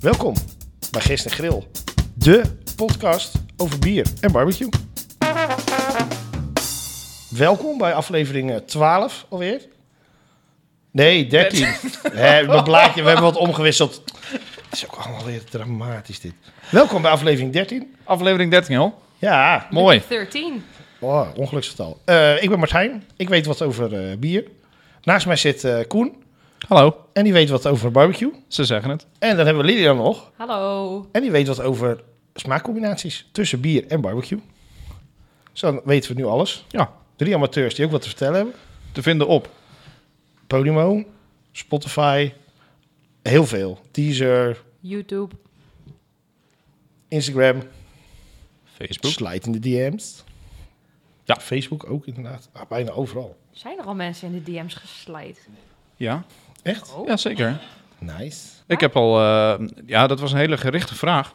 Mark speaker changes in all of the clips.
Speaker 1: Welkom bij Gist en Grill, de podcast over bier en barbecue. Welkom bij aflevering eh, 12 alweer. Nee, 13. Hè, mijn blaadje, we hebben wat omgewisseld. Het is ook allemaal weer dramatisch dit. Welkom bij aflevering 13.
Speaker 2: Aflevering 13, joh.
Speaker 1: Ja,
Speaker 2: Mooi.
Speaker 3: 13.
Speaker 1: oh, ongeluksgetal. Eh, ik ben Martijn, ik weet wat over eh, bier. Naast mij zit eh, Koen
Speaker 2: Hallo.
Speaker 1: en die weet wat over barbecue.
Speaker 2: Ze zeggen het.
Speaker 1: En dan hebben we Lilian nog.
Speaker 3: Hallo.
Speaker 1: En die weet wat over smaakcombinaties tussen bier en barbecue. Zo dan weten we nu alles.
Speaker 2: Ja.
Speaker 1: Drie amateurs die ook wat te vertellen hebben.
Speaker 2: Te vinden op.
Speaker 1: Podimo, Spotify, heel veel. Deezer,
Speaker 3: YouTube.
Speaker 1: Instagram,
Speaker 2: Facebook.
Speaker 1: slide in de DM's.
Speaker 2: Ja.
Speaker 1: Facebook ook inderdaad. Ah, bijna overal.
Speaker 3: Zijn er al mensen in de DM's geslijt?
Speaker 2: Ja.
Speaker 1: Echt?
Speaker 2: ja, zeker.
Speaker 1: Nice.
Speaker 2: Ik heb al... eh, ja, dat was een hele gerichte vraag.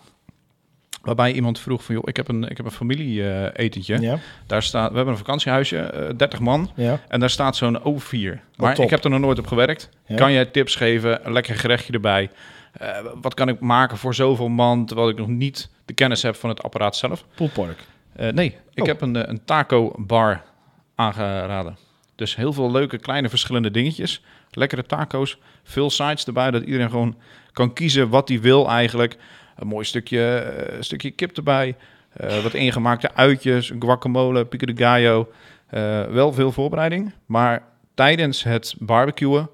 Speaker 2: Waarbij iemand vroeg van... joh, ik heb een, ik heb een familie-etentje.
Speaker 1: Ja.
Speaker 2: Daar staat... We hebben een vakantiehuisje. eh, 30 man.
Speaker 1: Ja.
Speaker 2: En daar staat zo'n O4. Maar
Speaker 1: top.
Speaker 2: ik heb er nog nooit op gewerkt.
Speaker 1: Ja.
Speaker 2: Kan jij tips geven? Een lekker gerechtje erbij. Eh, wat kan ik maken voor zoveel man... terwijl ik nog niet de kennis heb van het apparaat zelf?
Speaker 1: Poelpark.
Speaker 2: Eh, nee, ik
Speaker 1: Oh.
Speaker 2: heb een, eh, een taco bar aangeraden. Dus heel veel leuke, kleine, verschillende dingetjes. Lekkere taco's, veel sites erbij, dat iedereen gewoon kan kiezen wat hij wil eigenlijk. Een mooi stukje, eh, stukje kip erbij, eh, wat ingemaakte uitjes, guacamole, pico de gallo. Eh, wel veel voorbereiding, maar tijdens het barbecuen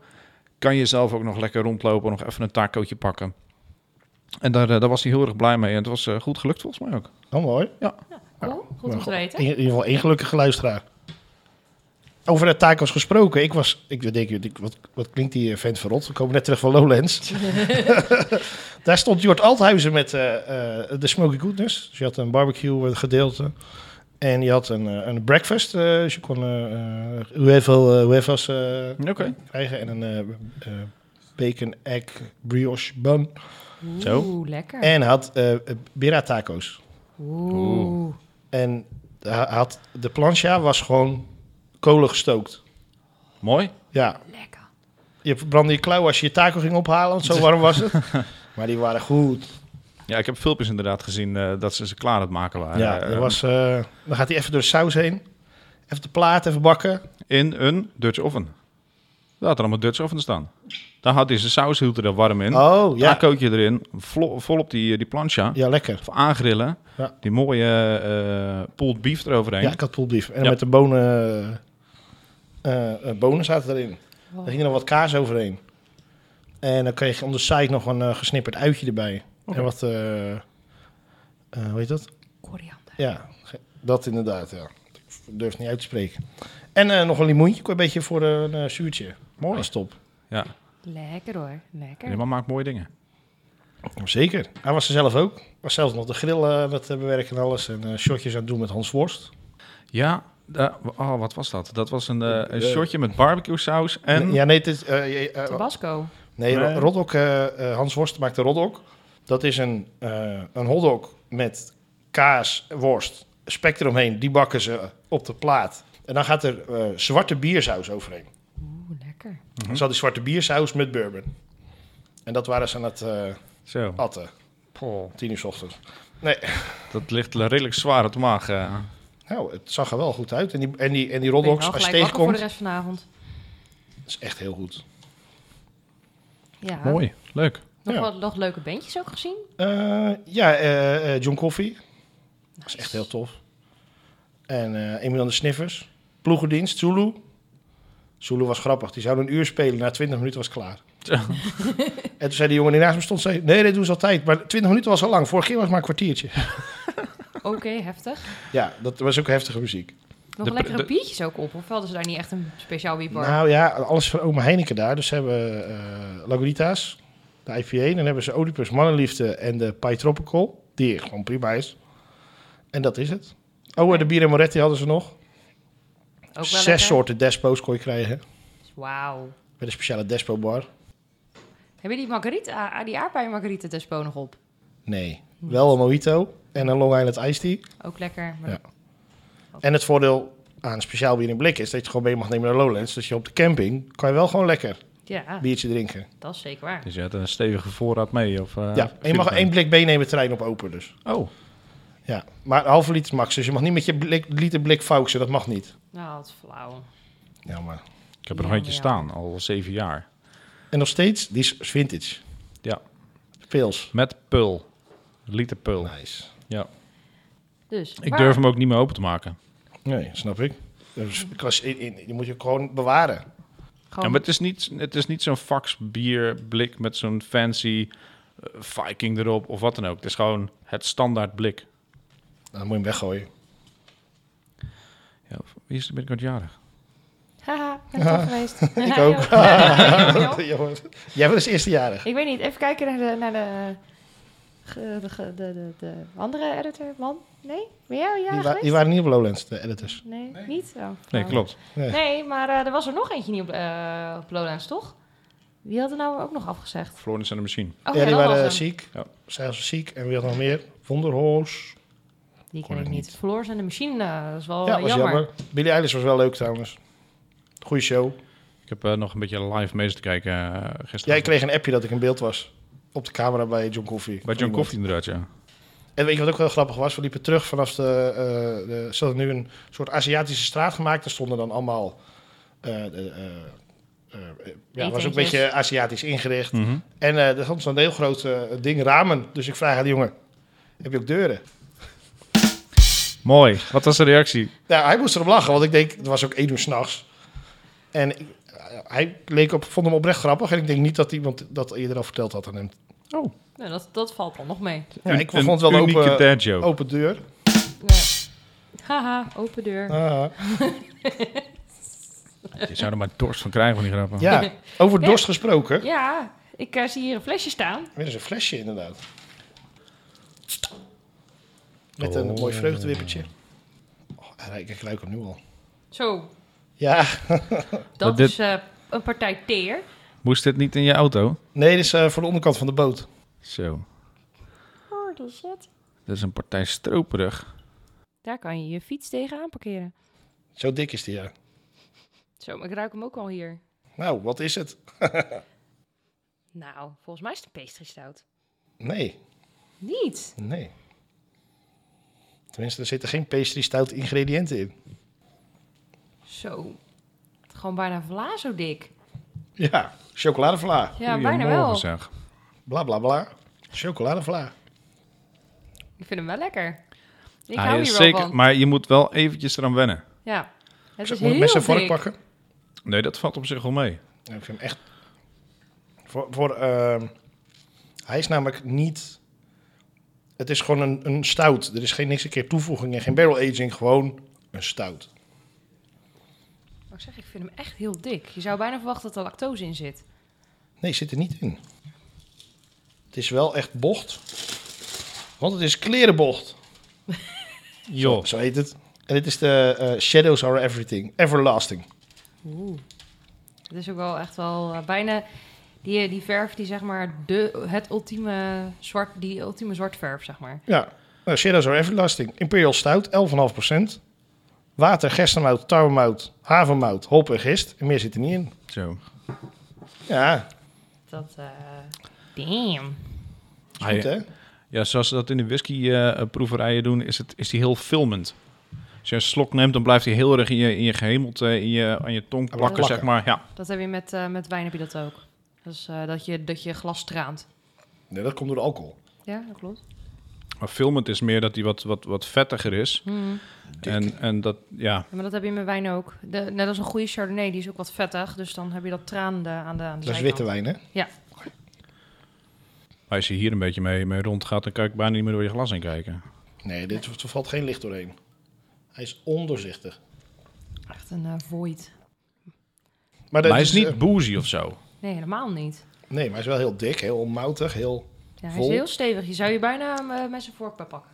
Speaker 2: kan je zelf ook nog lekker rondlopen, nog even een tacootje pakken. En daar, eh, daar was hij heel erg blij mee en het was eh, goed gelukt volgens mij ook.
Speaker 1: Oh, mooi.
Speaker 3: Cool. Goed om te
Speaker 1: In,
Speaker 3: weten.
Speaker 1: in ieder geval één gelukkige luisteraar. Over de tacos gesproken. Ik was, ik denk, ik- wat, wat klinkt die vent verrot? We komen net terug van Lowlands. Daar stond Jort Althuizen met eh, eh, de Smoky Goodness. Dus je had een barbecue eh, gedeelte. En je had een, eh, een breakfast. eh, dus je kon eh UFO, eh UFO's eh,
Speaker 2: Oké.
Speaker 1: krijgen. En een eh, eh, bacon egg brioche bun.
Speaker 2: Zo.
Speaker 3: Oeh, lekker.
Speaker 1: En hij had eh bira tacos.
Speaker 3: Oeh.
Speaker 1: En hij had, de plancha was gewoon kolen gestookt.
Speaker 2: Mooi.
Speaker 1: Ja,
Speaker 3: Lekker.
Speaker 1: je brandde je klauw als je je taco ging ophalen, want zo warm was het. maar die waren goed.
Speaker 2: Ja, ik heb filmpjes inderdaad gezien eh, dat ze ze klaar aan het maken waren.
Speaker 1: ja,
Speaker 2: Eh,
Speaker 1: er was, eh, dan gaat hij even door de saus heen. Even de plaat, even bakken.
Speaker 2: In een Dutch oven. Daar had er allemaal Dutch oven staan. Daar had hij zijn saus, hield hij er warm in.
Speaker 1: Oh, ja.
Speaker 2: Tacootje erin, vlo- vol op die, die plancha.
Speaker 1: Ja, lekker.
Speaker 2: Of aangrillen.
Speaker 1: Ja.
Speaker 2: Die mooie eh pulled beef eroverheen.
Speaker 1: Ja, ik had poelbrief. En dan
Speaker 2: Ja.
Speaker 1: met de bonen, eh, eh, bonen zaten erin.
Speaker 3: Wow.
Speaker 1: Daar ging nog wat kaas overheen. En dan kreeg je on the side nog een eh, gesnipperd uitje erbij.
Speaker 2: Oké.
Speaker 1: En wat, eh, eh, hoe heet dat?
Speaker 3: Koriander.
Speaker 1: Ja, ge- dat inderdaad, ja. Ik durf het niet uit te spreken. En eh, nog een limoentje, een beetje voor een eh, zuurtje.
Speaker 2: Mooi.
Speaker 1: Dat is top.
Speaker 2: Ja.
Speaker 3: Lekker hoor. Lekker.
Speaker 2: Die man maakt mooie dingen.
Speaker 1: Zeker. Hij was er zelf ook. Was zelf nog de grill eh, aan het eh, bewerken en alles. En eh, shotjes aan het doen met Hans Worst.
Speaker 2: Ja, da- oh, wat was dat? Dat was een, eh, een
Speaker 1: Eh,
Speaker 2: shotje met barbecue saus en...
Speaker 1: Ja, nee, het is, eh, eh, eh,
Speaker 3: Tabasco.
Speaker 1: nee,
Speaker 2: Nee.
Speaker 1: Rodok, eh, eh, Hans Worst maakt de Rodok. Dat is een, eh een hotdog met kaas, worst, spek eromheen. Die bakken ze op de plaat. En dan gaat er eh, zwarte biersaus overheen.
Speaker 3: Oeh, lekker.
Speaker 1: Ze hadden zwarte biersaus met bourbon. En dat waren ze aan het eh
Speaker 2: Zo.
Speaker 1: atten.
Speaker 2: Poh,
Speaker 1: Tien uur 's ochtends.
Speaker 2: dat ligt eh, redelijk zwaar op de maag. eh.
Speaker 1: Nou, het zag er wel goed uit. En die, en die, en die
Speaker 3: Ik ben
Speaker 1: Rodox,
Speaker 3: wel
Speaker 1: als je
Speaker 3: gelijk wakker voor
Speaker 1: tegenkomt,
Speaker 3: de rest vanavond.
Speaker 1: is echt heel goed.
Speaker 3: Ja.
Speaker 2: Mooi, leuk.
Speaker 3: Nog
Speaker 1: Ja.
Speaker 3: wat nog leuke bandjes ook gezien?
Speaker 1: Eh, ja, eh, eh, John Coffee. Dat is
Speaker 3: Nice.
Speaker 1: echt heel tof. En eh Emil en de Sniffers. Ploegendienst, Zulu. Zulu was grappig. Die zouden een uur spelen. Na 20 minuten was het klaar.
Speaker 2: Ja.
Speaker 1: en toen zei de jongen die naast me stond, zei, nee, dat doen ze altijd. Maar 20 minuten was al lang. Vorige keer was het maar een kwartiertje.
Speaker 3: Oké, heftig.
Speaker 1: ja, dat was ook heftige muziek.
Speaker 3: Nog
Speaker 2: De-
Speaker 3: lekkere
Speaker 2: de-
Speaker 3: biertjes ook op. Of hadden ze daar niet echt een speciaal bierbar?
Speaker 1: Nou ja, alles van oma Heineken daar. Dus ze hebben eh Lagunitas, de IPA. Dan hebben ze Oedipus, Mannenliefde en de Pai Tropical. Die gewoon prima is. En dat is het. Oh, en de bier en Moretti hadden ze nog.
Speaker 3: ook wel
Speaker 1: Zes
Speaker 3: lekker.
Speaker 1: soorten despo's kon je krijgen.
Speaker 3: Wauw.
Speaker 1: Met een speciale despo bar.
Speaker 3: Heb je die margarita, ah, die aardbeien margarita despo nog op?
Speaker 1: Nee, wel een mojito en een Long Island Iced Tea.
Speaker 3: Ook lekker. Maar
Speaker 1: Ja. En het voordeel aan speciaal bier in blik is dat je het gewoon mee mag nemen naar Lowlands. Dus je op de camping kan je wel gewoon lekker.
Speaker 3: Ja,
Speaker 1: biertje drinken.
Speaker 3: dat is zeker waar.
Speaker 2: Dus je had een stevige voorraad mee? Of, eh,
Speaker 1: ja, en je mag
Speaker 2: Filipijn?
Speaker 1: één blik meenemen terrein op open dus.
Speaker 2: Oh,
Speaker 1: Ja, maar een halve liter max. Dus je mag niet met je blik, liter blik fauxen, dat mag niet.
Speaker 3: Nou, dat is flauw.
Speaker 1: Ja, maar...
Speaker 2: ik heb er een
Speaker 3: Ja,
Speaker 2: handje
Speaker 3: ja.
Speaker 2: staan, al zeven jaar.
Speaker 1: En nog steeds, die is vintage.
Speaker 2: Ja.
Speaker 1: Pils.
Speaker 2: Met pul. Liter pul.
Speaker 1: Nice.
Speaker 2: Ja.
Speaker 3: Dus,
Speaker 2: Ik
Speaker 3: maar-
Speaker 2: durf hem ook niet meer open te maken.
Speaker 1: Nee, snap ik. Dus, ik was in- in- je moet je gewoon bewaren.
Speaker 3: gewoon-
Speaker 2: Ja, maar het is niet, het is niet zo'n fax bierblik met zo'n fancy eh, Viking erop of wat dan ook. Het is gewoon het standaard blik.
Speaker 1: Dan moet je hem weggooien.
Speaker 2: Ja, wie is er binnenkort jarig?
Speaker 3: Haha, ik ben toch geweest.
Speaker 1: Ik ook.
Speaker 3: Ja, joh.
Speaker 1: Jongen, Jij was de eerste jarig.
Speaker 3: ik weet niet, even kijken naar de, naar de, ge- de, ge- de, de, de andere editor, man. Nee? Ben jij ja,
Speaker 1: Die, wa- die waren niet op Lowlands, de editors.
Speaker 3: Nee, niet? Oh,
Speaker 2: Nee,
Speaker 3: flauw.
Speaker 2: klopt.
Speaker 1: Nee.
Speaker 3: Nee, maar eh, er was er nog eentje niet op, eh op Lowlands, toch? Wie had er nou ook nog afgezegd?
Speaker 2: Florence en de machine.
Speaker 3: Oh,
Speaker 1: ja, die
Speaker 3: dat was
Speaker 1: waren
Speaker 3: hem.
Speaker 1: ziek.
Speaker 2: Ja.
Speaker 1: Zij was ziek. En wie had nog meer? Wonderhoos.
Speaker 3: Die
Speaker 1: kon
Speaker 3: ken ik
Speaker 1: ik
Speaker 3: niet. Floors en de Machine, eh, dat is wel
Speaker 1: ja,
Speaker 3: eh,
Speaker 1: was jammer. Billie Eilish was wel leuk trouwens. Goeie show.
Speaker 2: Ik heb eh, nog een beetje live mee te kijken eh, gisteren.
Speaker 1: Jij kreeg een appje dat ik in beeld was. Op de camera bij John Coffee.
Speaker 2: Bij John Coffee inderdaad, ja.
Speaker 1: En weet je wat ook heel grappig was? We liepen terug vanaf de... eh de ze hadden nu een soort Aziatische straat gemaakt. Daar stonden dan allemaal... eh, de, eh, eh, ja, het was ook een
Speaker 3: Etentjes.
Speaker 1: beetje Aziatisch ingericht.
Speaker 2: Mhm.
Speaker 1: En eh er stond zo'n heel groot eh, ding ramen. Dus ik vraag aan die jongen, heb je ook deuren?
Speaker 2: Mooi. Wat was de reactie?
Speaker 1: Ja, hij moest erop lachen, want ik denk, het was ook één uur s'nachts. En ik- hij leek op, vond hem oprecht grappig. En ik denk niet dat iemand dat eerder al verteld had aan hem.
Speaker 2: Oh,
Speaker 3: Nou, dat, dat valt dan nog mee.
Speaker 1: Ja, ik
Speaker 2: een
Speaker 1: vond het wel een
Speaker 2: unieke
Speaker 1: open, Oh.
Speaker 2: dad joke.
Speaker 1: open deur.
Speaker 3: Ja. Haha, open deur.
Speaker 1: Ah,
Speaker 2: Je zou er maar dorst van krijgen van die grappen.
Speaker 1: ja, over dorst gesproken.
Speaker 3: Ja, ik eh, zie hier een flesje staan.
Speaker 1: Weer eens een flesje inderdaad. Met een
Speaker 2: Oh.
Speaker 1: mooi vreugdewippertje. Oh, hij ruikt- ik ruik hem nu al.
Speaker 3: Zo,
Speaker 1: Ja,
Speaker 3: dat
Speaker 2: dit-
Speaker 3: is eh, een partij teer.
Speaker 2: Moest dit niet in je auto?
Speaker 1: nee, dit is eh, voor de onderkant van de boot.
Speaker 2: Zo.
Speaker 3: Oh, dat is wat.
Speaker 2: Dat is een partij stroperig.
Speaker 3: Daar kan je je fiets tegenaan parkeren.
Speaker 1: Zo dik is die, ja.
Speaker 3: Zo, maar ik ruik hem ook al hier.
Speaker 1: Nou, wat is het?
Speaker 3: Nou, volgens mij is het een pastry stout.
Speaker 1: Nee.
Speaker 3: Niet.
Speaker 1: Nee. Tenminste, er zitten geen pastry stout ingrediënten in.
Speaker 3: Zo. Gewoon bijna vla zo dik.
Speaker 1: Ja, chocoladevla.
Speaker 3: Ja, bijna wel.
Speaker 2: Goedemorgen, zeg.
Speaker 1: Bla bla bla. Chocoladevla.
Speaker 3: Ik vind hem wel lekker. Ik
Speaker 2: Hij
Speaker 3: hou
Speaker 2: is
Speaker 3: hier wel
Speaker 2: zeker,
Speaker 3: van.
Speaker 2: Maar je moet wel eventjes eraan wennen.
Speaker 3: Ja. Het
Speaker 1: Zal
Speaker 3: is
Speaker 1: ik moet
Speaker 3: heel
Speaker 1: ik mes en
Speaker 3: dik.
Speaker 1: vork pakken?
Speaker 2: Nee, dat valt op zich wel mee.
Speaker 1: Ja, ik vind hem echt... Voor, voor, ehm, hij is namelijk niet... Het is gewoon een, een stout. Er is geen niks een keer toevoeging en geen barrel aging. Gewoon een stout.
Speaker 3: Maar Oh, ik zeg, ik vind hem echt heel dik. Je zou bijna verwachten dat er lactose in zit.
Speaker 1: Nee, zit er niet in. Het is wel echt bocht. Want het is klerenbocht.
Speaker 2: Joh.
Speaker 1: Zo heet het. En dit is de eh, Shadows Are Everything. Everlasting.
Speaker 3: Oeh. Het is ook wel echt wel eh, bijna die, eh, die verf die zeg maar de, het ultieme zwart, die ultieme zwartverf zeg maar.
Speaker 1: Ja, nou, Shadows are everlasting. Imperial Stout, 11,5%. Water, gerstenmout, tarwemout, havermout, hop en gist. En meer zit er niet in.
Speaker 2: Zo.
Speaker 1: Ja,
Speaker 3: Dat, eh damn.
Speaker 1: is goed
Speaker 2: Hij-
Speaker 1: hè?
Speaker 2: Ja, zoals ze dat in de whiskyproeverijen doen, is, het, is die heel filmend. Als je een slok neemt, dan blijft hij heel erg in je, in je gehemelte, in je, aan je tong plakken,
Speaker 1: plakken.
Speaker 2: zeg maar. Ja.
Speaker 3: Dat heb je met, eh, met wijn heb je dat ook. Dat is eh, dat, je, dat je glas traant.
Speaker 1: Nee, dat komt door de alcohol.
Speaker 3: Ja, dat klopt.
Speaker 2: Maar filmend is meer dat hij wat, wat, wat vettiger is.
Speaker 3: Hmm.
Speaker 2: En, en dat, ja.
Speaker 3: Ja, maar dat heb je met wijn ook. De, net als een goede chardonnay, die is ook wat vettig. Dus dan heb je dat traande aan de, aan de
Speaker 1: Dat is
Speaker 3: zijkant.
Speaker 1: witte wijn hè?
Speaker 2: Maar als je hier een beetje mee, mee rondgaat, dan kan ik bijna niet meer door je glas heen kijken.
Speaker 1: Nee, dit, er valt geen licht doorheen. Hij is ondoorzichtig.
Speaker 3: Echt een eh, void.
Speaker 1: Maar,
Speaker 2: Maar
Speaker 1: dat
Speaker 2: hij is niet
Speaker 1: eh,
Speaker 2: boozy of zo.
Speaker 3: Nee, helemaal niet.
Speaker 1: nee, maar hij is wel heel dik, heel moutig, heel...
Speaker 3: Ja, hij
Speaker 1: Vol.
Speaker 3: is heel stevig. Je zou je bijna eh, met zijn vork bij pakken.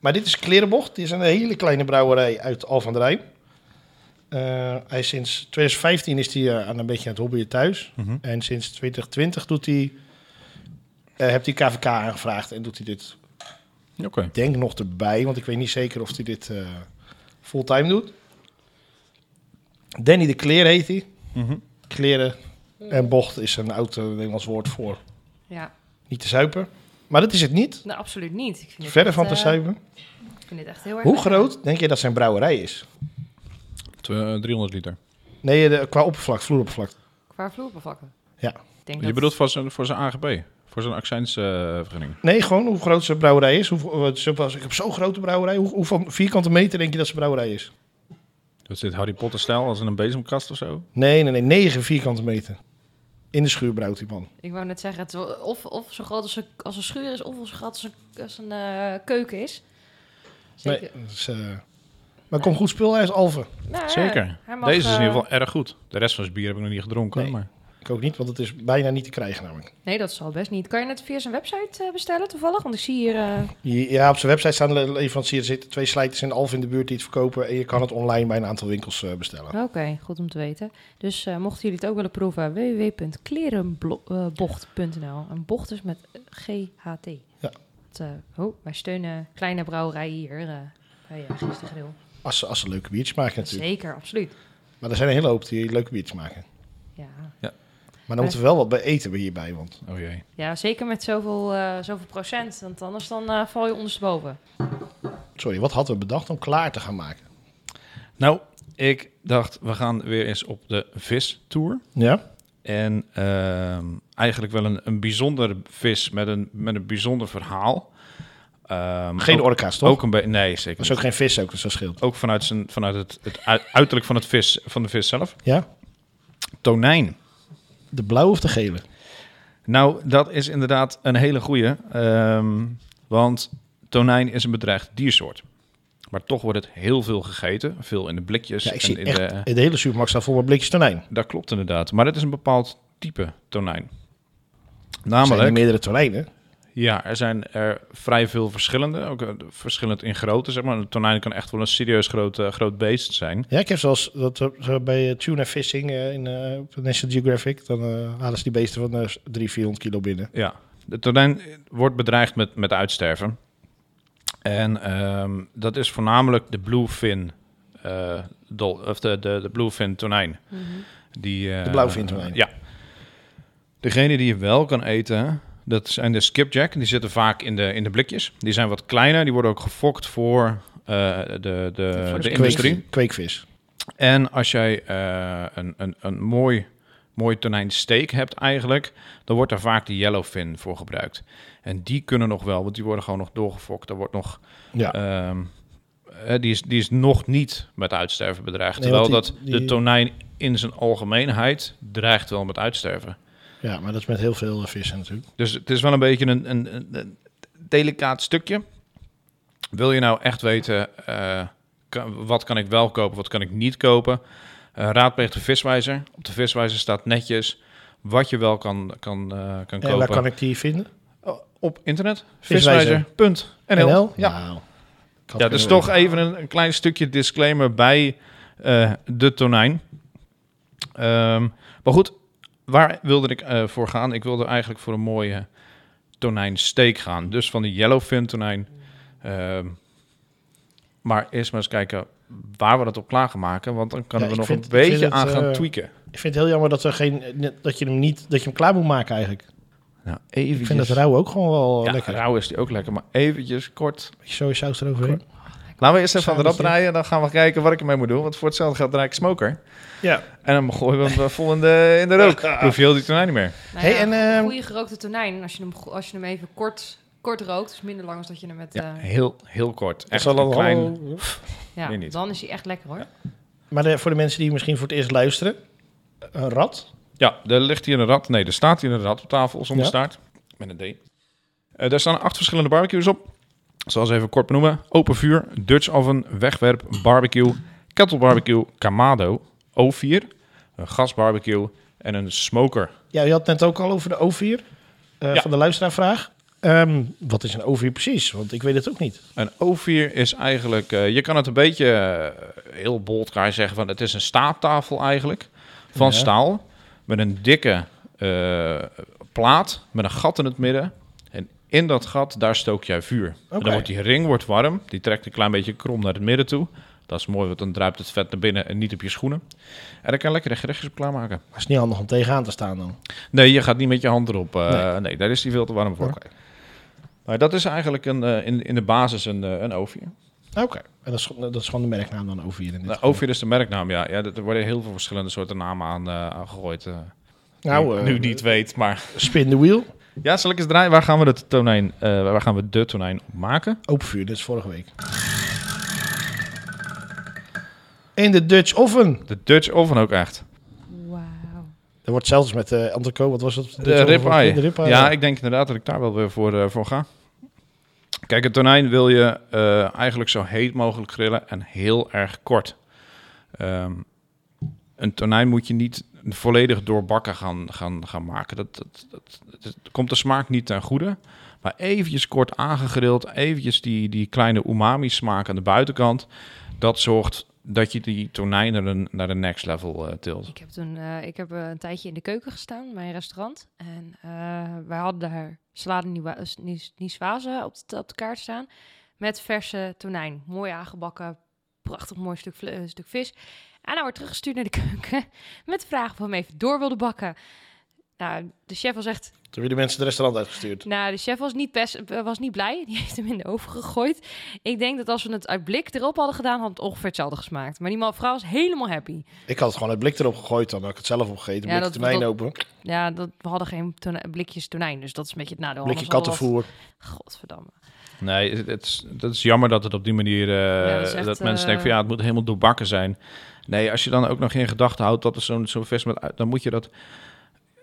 Speaker 1: Maar dit is Klerenbocht. Dit is een hele kleine brouwerij uit Al van der Rijn. Eh, hij is sinds 2015 is hij eh, aan een beetje aan het hobbyen thuis.
Speaker 2: Mhm.
Speaker 1: En sinds 2020 doet hij, eh, heeft hij KVK aangevraagd en doet hij dit,
Speaker 2: Oké.
Speaker 1: denk nog erbij, want ik weet niet zeker of hij dit eh, fulltime doet. Danny de Kleer heet hij.
Speaker 2: Mhm.
Speaker 1: Kleren En bocht is een oud eh, Nederlands woord voor
Speaker 3: Ja,
Speaker 1: niet te zuipen. Maar dat is het niet.
Speaker 3: nou absoluut niet. Ik vind dit
Speaker 1: Verre
Speaker 3: echt,
Speaker 1: van te
Speaker 3: eh,
Speaker 1: zuipen.
Speaker 3: Ik vind dit echt heel erg
Speaker 1: Hoe
Speaker 3: lekker.
Speaker 1: groot denk je dat zijn brouwerij is?
Speaker 2: Tw- eh, 300 liter.
Speaker 1: Nee, de, qua oppervlak, vloeroppervlak.
Speaker 3: Qua vloerbevlakken.
Speaker 1: Ja.
Speaker 3: Ik denk
Speaker 2: Je
Speaker 3: dat-
Speaker 2: bedoelt voor zijn, voor zijn AGB, voor zijn accijnsvergunning.
Speaker 1: Nee, gewoon hoe groot zijn brouwerij is. Hoeveel, eh, ze- als ik heb zo'n grote brouwerij. Hoe, hoeveel vierkante meter denk je dat zijn brouwerij is?
Speaker 2: dus dit Harry Potter stijl als in een bezemkast of zo?
Speaker 1: Nee, nee, nee. 9 vierkante meter. In de schuur brouwt die man.
Speaker 3: Ik wou net zeggen, het is wel- of, of zo groot als een, als een schuur is, of zo groot als een, als een eh, keuken is.
Speaker 1: Nee,
Speaker 3: Zeker.
Speaker 1: dat is, eh, maar komt goed spul uit Alphen.
Speaker 3: Nou ja,
Speaker 2: Zeker.
Speaker 3: hij mag,
Speaker 2: Deze is in
Speaker 3: eh,
Speaker 2: ieder geval erg goed. De rest van zijn bier heb ik nog niet gedronken.
Speaker 1: Nee.
Speaker 2: Maar
Speaker 1: Ik ook niet, want het is bijna niet te krijgen namelijk.
Speaker 3: Nee, dat zal best niet. Kan je het via zijn website eh, bestellen toevallig? Want ik zie hier... eh,
Speaker 1: Ja, op zijn website staan le- leveranciers zitten twee slijters in Alphen in de buurt die het verkopen. En je kan het online bij een aantal winkels eh, bestellen.
Speaker 3: Oké, goed om te weten. Dus eh, mochten jullie het ook willen proeven, www.klerenbocht.nl. en bocht is met GHT.
Speaker 1: Ja.
Speaker 3: Het, eh, oh, wij steunen kleine brouwerijen hier eh, bij uh, Gistergril.
Speaker 1: Als ze, als ze leuke biertjes maken natuurlijk.
Speaker 3: Zeker, absoluut.
Speaker 1: Maar er zijn een hele hoop die leuke biertjes maken.
Speaker 3: Ja.
Speaker 1: Maar dan moeten we wel wat bij eten hierbij. Want
Speaker 2: oh jee.
Speaker 3: ja, zeker met zoveel, eh, zoveel procent. Want anders dan eh, val je ondersteboven.
Speaker 1: sorry, wat hadden we bedacht om klaar te gaan maken?
Speaker 2: Nou, ik dacht, we gaan weer eens op de vis-tour.
Speaker 1: Ja?
Speaker 2: En ehm, eigenlijk wel een, een bijzonder vis met een, met een bijzonder verhaal. Ehm,
Speaker 1: Geen
Speaker 2: ook,
Speaker 1: orka's toch?
Speaker 2: Ook een beetje. Nee, zeker.
Speaker 1: dat is
Speaker 2: niet.
Speaker 1: ook geen vis ook, dus dat scheelt.
Speaker 2: Ook vanuit, zijn, vanuit het, het u- uiterlijk van, het vis, van de vis zelf.
Speaker 1: Ja?
Speaker 2: Tonijn.
Speaker 1: De blauwe of de gele?
Speaker 2: Nou, dat is inderdaad een hele goeie. ehm, want tonijn is een bedreigd diersoort. Maar toch wordt het heel veel gegeten. Veel in de blikjes.
Speaker 1: Ja, ik
Speaker 2: en
Speaker 1: zie
Speaker 2: in
Speaker 1: echt,
Speaker 2: de,
Speaker 1: de hele supermarkt staat vol met blikjes tonijn. Er
Speaker 2: dat klopt inderdaad. Maar het is een bepaald type tonijn.
Speaker 1: zijn
Speaker 2: Namelijk,
Speaker 1: er meerdere tonijnen.
Speaker 2: ja, er zijn er vrij veel verschillende. Ook eh, verschillend in grootte, zeg maar. Een tonijn kan echt wel een serieus groot, eh, groot beest zijn.
Speaker 1: Ja, ik heb zoals dat, eh, zo bij eh, tuna fishing eh, in eh, op National Geographic. Dan eh, halen ze die beesten van eh, 300, 400 kilo binnen.
Speaker 2: Ja, de tonijn wordt bedreigd met, met uitsterven. En ehm, dat is voornamelijk de bluefin, eh, dol, of de, de, de bluefin tonijn. Die, eh,
Speaker 1: Mhm. De blauwvin tonijn.
Speaker 2: Ja. Degene die je wel kan eten, dat zijn de skipjack. Die zitten vaak in de, in de blikjes. Die zijn wat kleiner. Die worden ook gefokt voor eh, de, de, de
Speaker 1: Kweek-
Speaker 2: industrie.
Speaker 1: Kweekvis.
Speaker 2: En als jij eh, een, een, een mooi, mooi tonijnsteak hebt eigenlijk, dan wordt daar vaak de yellowfin voor gebruikt. En die kunnen nog wel, want die worden gewoon nog doorgefokt. Daar wordt nog,
Speaker 1: Ja.
Speaker 2: ehm, eh, die, is, die is nog niet met uitsterven bedreigd.
Speaker 1: Nee,
Speaker 2: terwijl
Speaker 1: want die-
Speaker 2: dat de
Speaker 1: die-
Speaker 2: tonijn in zijn algemeenheid dreigt wel met uitsterven.
Speaker 1: ja, maar dat is met heel veel eh, vissen natuurlijk.
Speaker 2: Dus het is wel een beetje een, een, een, een delicaat stukje. Wil je nou echt weten, eh, kan- wat kan ik wel kopen, wat kan ik niet kopen? Eh, raadpleeg de viswijzer. Op de viswijzer staat netjes wat je wel kan, kan, eh, kan
Speaker 1: En waar
Speaker 2: kopen.
Speaker 1: kan ik die vinden?
Speaker 2: Oh, Op internet,
Speaker 1: Viswijzer.
Speaker 2: viswijzer.nl. Ja.
Speaker 1: Nou, ik had
Speaker 2: ja,
Speaker 1: het
Speaker 2: dus
Speaker 1: kunnen
Speaker 2: toch even een, een klein stukje disclaimer bij eh, de tonijn. Ehm, maar goed, waar wilde ik eh, voor gaan? Ik wilde eigenlijk voor een mooie tonijnsteek gaan. Dus van de yellowfin tonijn. Ehm, maar eerst maar eens kijken waar we dat op klaar gaan maken. Want dan kunnen
Speaker 1: Ja,
Speaker 2: we
Speaker 1: ik
Speaker 2: nog
Speaker 1: vind-
Speaker 2: een
Speaker 1: ik vind
Speaker 2: beetje
Speaker 1: het,
Speaker 2: aan gaan
Speaker 1: eh,
Speaker 2: tweaken.
Speaker 1: weten. Ik vind het heel jammer dat, er geen, dat je hem niet dat je hem klaar moet maken eigenlijk.
Speaker 2: Nou, eventjes.
Speaker 1: Ik vind dat rauw ook gewoon wel eh,
Speaker 2: Ja,
Speaker 1: lekker.
Speaker 2: rauw is die ook lekker. Maar eventjes kort.
Speaker 1: Beetje sojasaus eroverheen.
Speaker 2: Laten we eerst even aan de rad
Speaker 1: Sausje.
Speaker 2: draaien. Dan gaan we kijken wat ik ermee moet doen. Want voor hetzelfde gaat draai ik smoker.
Speaker 1: Ja.
Speaker 2: En dan gooien we hem wel vol in de, in de rook. Proef je heel die tonijn niet meer.
Speaker 3: Nou
Speaker 1: Hey,
Speaker 3: ja,
Speaker 1: en, ehm,
Speaker 3: goede gerookte tonijn, als je hem, go- als je hem even kort, kort rookt, dus minder lang als dat je hem met...
Speaker 2: Ja,
Speaker 3: eh,
Speaker 2: heel, heel kort. Echt
Speaker 1: wel
Speaker 2: een
Speaker 1: een
Speaker 2: klein...
Speaker 3: ja,
Speaker 2: meer niet.
Speaker 3: dan is hij echt lekker hoor.
Speaker 1: Maar de- voor de mensen die misschien voor het eerst luisteren. Een rat.
Speaker 2: Ja, er ligt hier een rat. Nee, er staat hier een rat op tafel zonder
Speaker 1: Ja.
Speaker 2: staart. Met een D. Eh, daar staan acht verschillende barbecues op. Zoals even kort benoemen. Open vuur, Dutch oven, wegwerp, barbecue, kettle barbecue, kamado, O4, een gasbarbecue en een smoker.
Speaker 1: Ja, je had het net ook al over de O4. eh,
Speaker 2: Ja.
Speaker 1: Van de luisteraarvraag. Ehm, wat is een O4 precies? Want ik weet het ook niet.
Speaker 2: Een O4 is eigenlijk, eh, je kan het een beetje eh, heel bold kan je zeggen van het is een staattafel eigenlijk van
Speaker 1: Ja.
Speaker 2: staal met een dikke eh, plaat met een gat in het midden en in dat gat daar stook jij vuur. En
Speaker 1: Oké.
Speaker 2: dan wordt die ring wordt warm, die trekt een klein beetje krom naar het midden toe. Dat is mooi, want dan druipt het vet naar binnen en niet op je schoenen. En dan kan je lekker de gerechtjes op klaarmaken.
Speaker 1: Dat is niet handig om tegenaan te staan dan.
Speaker 2: Nee, je gaat niet met je hand erop. eh,
Speaker 1: Nee.
Speaker 2: nee. daar is die veel te warm voor.
Speaker 1: Oké.
Speaker 2: Maar dat is eigenlijk een, eh, in, in de basis een, eh, een ovier.
Speaker 1: Nou, Oké. En dat is, dat is gewoon de merknaam dan over hier in dit
Speaker 2: Nou,
Speaker 1: geval.
Speaker 2: ovier is de merknaam, ja. ja. Er worden heel veel verschillende soorten namen aan, eh, aan gegooid. eh.
Speaker 1: Nou,
Speaker 2: nu,
Speaker 1: eh,
Speaker 2: nu die het weet, maar...
Speaker 1: Spin the wheel.
Speaker 2: Ja, zal ik eens draaien? Waar gaan we, de tonijn, eh, waar gaan we de tonijn op maken?
Speaker 1: Open vuur, dat is vorige week. In de Dutch oven.
Speaker 2: De Dutch oven ook echt.
Speaker 3: Wauw.
Speaker 1: Dat wordt zelfs met eh Antico, wat was dat?
Speaker 2: De ribeye.
Speaker 1: De ribeye.
Speaker 2: Ja, ik denk inderdaad dat ik daar wel weer voor, eh, voor ga. Kijk, een tonijn wil je eh, eigenlijk zo heet mogelijk grillen en heel erg kort. Ehm, een tonijn moet je niet volledig doorbakken gaan, gaan, gaan maken. Dat, dat, dat, dat- dat komt de smaak niet ten goede. Maar eventjes kort aangegrild, eventjes die, die kleine umami smaak aan de buitenkant. Dat zorgt dat je die tonijn naar de, naar de next level eh, tilt.
Speaker 3: Ik heb toen eh, ik heb eh, een tijdje in de keuken gestaan bij een restaurant. En eh, wij hadden daar salade Niwa- eh, Nis- niçoise op de, op de kaart staan. Met verse tonijn. Mooi aangebakken. Prachtig mooi stuk, vle- eh, stuk vis. En hij wordt teruggestuurd naar de keuken. Met de vraag of we hem even door wilden bakken. Nou, de chef was echt
Speaker 1: Toen hebben de mensen het restaurant uitgestuurd.
Speaker 3: Nou, de chef was niet, best, eh, was niet blij. Die heeft hem in de oven gegooid. Ik denk dat als we het uit blik erop hadden gedaan, had het ongeveer hetzelfde gesmaakt. Maar die man- vrouw was helemaal happy.
Speaker 1: Ik had het gewoon het blik erop gegooid dan. Had ik het zelf opgegeten.
Speaker 3: Ja,
Speaker 1: Ja, blik
Speaker 3: dat-
Speaker 1: tonijn
Speaker 3: dat-
Speaker 1: open.
Speaker 3: Ja, dat, we hadden geen tona- blikjes tonijn, dus dat is een beetje het nadeel.
Speaker 1: Blikje
Speaker 3: Anders hadden we
Speaker 1: kattenvoer.
Speaker 3: wat- Godverdamme.
Speaker 2: Nee, het, het is, dat is jammer dat het op die manier... eh,
Speaker 3: Ja, dat is echt,
Speaker 2: dat mensen
Speaker 3: eh,
Speaker 2: denken van ja, het moet helemaal doorbakken zijn. Nee, als je dan ook nog in gedachten houdt dat er zo'n zo'n vis met... uit- Dan moet je dat,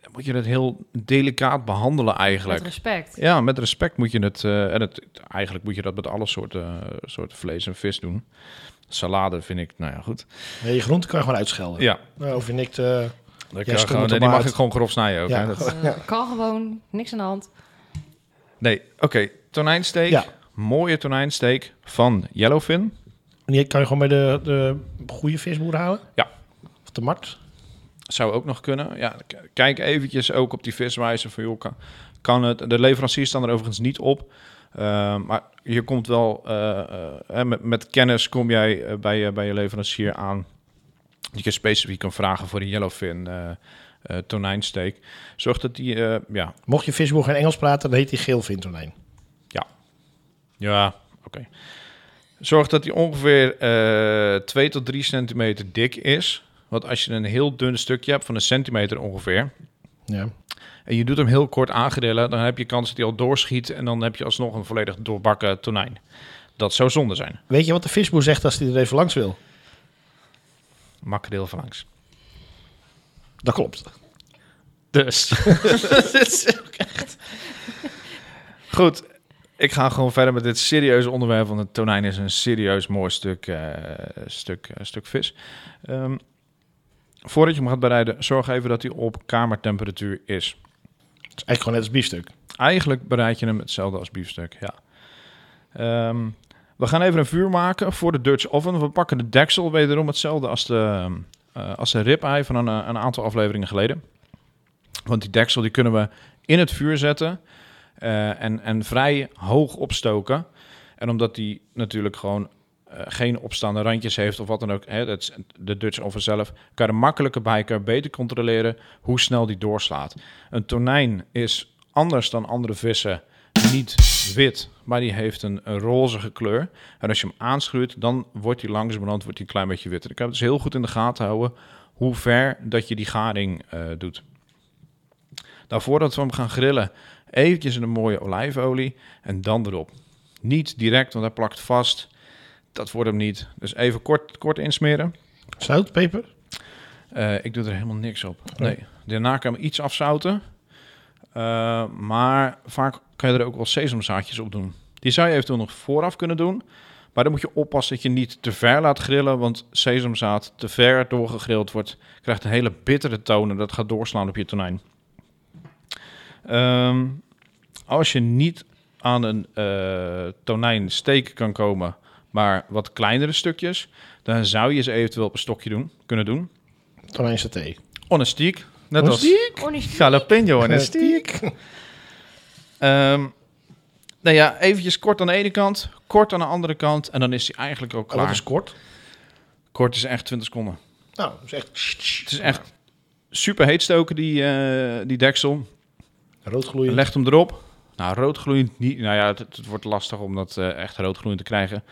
Speaker 2: dan moet je dat heel delicaat behandelen
Speaker 3: Met
Speaker 2: eigenlijk.
Speaker 3: respect.
Speaker 2: Ja, met respect moet je het... eh, en het, eigenlijk moet je dat met alle soorten, soorten vlees en vis doen. Salade vind ik, nou ja, goed.
Speaker 1: Nee, je groente kan je gewoon uitschelden.
Speaker 2: Ja,
Speaker 1: Nou, of je nikt... eh,
Speaker 2: dat
Speaker 1: stom
Speaker 2: kan
Speaker 1: met
Speaker 2: gewoon,
Speaker 1: de
Speaker 2: die mag
Speaker 1: baard.
Speaker 2: ik gewoon grof snijden ook.
Speaker 1: Ja.
Speaker 2: hè. Dat-
Speaker 3: Eh, Kan gewoon, niks aan de hand.
Speaker 2: nee, oké. Tonijnsteek.
Speaker 1: Ja.
Speaker 2: Mooie tonijnsteek van Yellowfin.
Speaker 1: die kan je gewoon bij de, de goede visboer halen.
Speaker 2: Ja.
Speaker 1: Of de markt.
Speaker 2: Zou ook nog kunnen. Ja, k- kijk eventjes ook op die viswijze van joh, kan, kan het. De leveranciers staan er overigens niet op. Eh, maar je komt wel eh, eh, hè, met, met kennis kom jij eh, bij, je- bij je leverancier aan. Dat je specifiek kan vragen voor een yellowfin eh eh, tonijnsteak. Zorg dat die, eh, ja,
Speaker 1: Mocht je visboer geen Engels praten, dan heet die geel vintonijn.
Speaker 2: ja, oké. Zorg dat die ongeveer eh 2 tot 3 centimeter dik is. Want als je een heel dun stukje hebt van een centimeter ongeveer,
Speaker 1: Ja.
Speaker 2: en je doet hem heel kort aangedrillen, dan heb je kans dat hij al doorschiet en dan heb je alsnog een volledig doorbakken tonijn. Dat zou zonde zijn.
Speaker 1: Weet je wat de visboer zegt als hij er even langs wil?
Speaker 2: Makreel van langs.
Speaker 1: Dat klopt.
Speaker 2: Dus. Dit is ook echt- Goed, ik ga gewoon verder met dit serieuze onderwerp, want het tonijn is een serieus mooi stuk, eh, stuk, eh, stuk vis. Ehm, voordat je hem gaat bereiden, zorg even dat hij op kamertemperatuur is.
Speaker 1: Het is eigenlijk gewoon net als biefstuk.
Speaker 2: Eigenlijk bereid je hem hetzelfde als biefstuk, ja. Ehm, we gaan even een vuur maken voor de Dutch oven. We pakken de deksel wederom hetzelfde als de, eh als de ribeye van een, eh, een aantal afleveringen geleden. Want die deksel die kunnen we in het vuur zetten eh, en, en vrij hoog opstoken. En omdat die natuurlijk gewoon eh, geen opstaande randjes heeft of wat dan ook, hè, dat is de Dutch oven zelf, kan je er makkelijker bij, kan je beter controleren hoe snel die doorslaat. Een tonijn is anders dan andere vissen niet wit, maar die heeft een, een rozige kleur. En als je hem aanschuurt, dan wordt die langzamerhand wordt die een klein beetje witter. Ik heb dus heel goed in de gaten houden hoe ver dat je die garing eh, doet. Nou, voordat we hem gaan grillen, eventjes in een mooie olijfolie en dan erop. Niet direct, want hij plakt vast. Dat wordt hem niet. Dus even kort, kort insmeren.
Speaker 1: Zout, peper.
Speaker 2: Eh, ik doe er helemaal niks op. Nee. Daarna kan je hem iets afzouten. Eh, maar vaak kan je er ook wel sesamzaadjes op doen. Die zou je eventueel nog vooraf kunnen doen. Maar dan moet je oppassen dat je niet te ver laat grillen. Want sesamzaad te ver doorgegrild wordt, krijgt een hele bittere toon. En dat gaat doorslaan op je tonijn. Ehm, als je niet aan een eh tonijnsteek kan komen, maar wat kleinere stukjes, dan zou je ze eventueel op een stokje doen, kunnen doen.
Speaker 1: Tonijn saté.
Speaker 2: Honestiek. Net als
Speaker 3: Honest-
Speaker 2: jalapeno honestiek. Ehm nou ja, eventjes kort aan de ene kant, kort aan de andere kant. En dan is hij eigenlijk ook
Speaker 1: Oh, dat
Speaker 2: klaar.
Speaker 1: is kort.
Speaker 2: Kort is echt 20 seconden.
Speaker 1: Nou, dat is echt...
Speaker 2: Het is echt super heet stoken, die, eh, die deksel.
Speaker 1: Rood gloeiend.
Speaker 2: Legt hem erop. Nou, roodgloeiend niet. Nou ja, het, het wordt lastig om dat eh echt roodgloeiend te krijgen.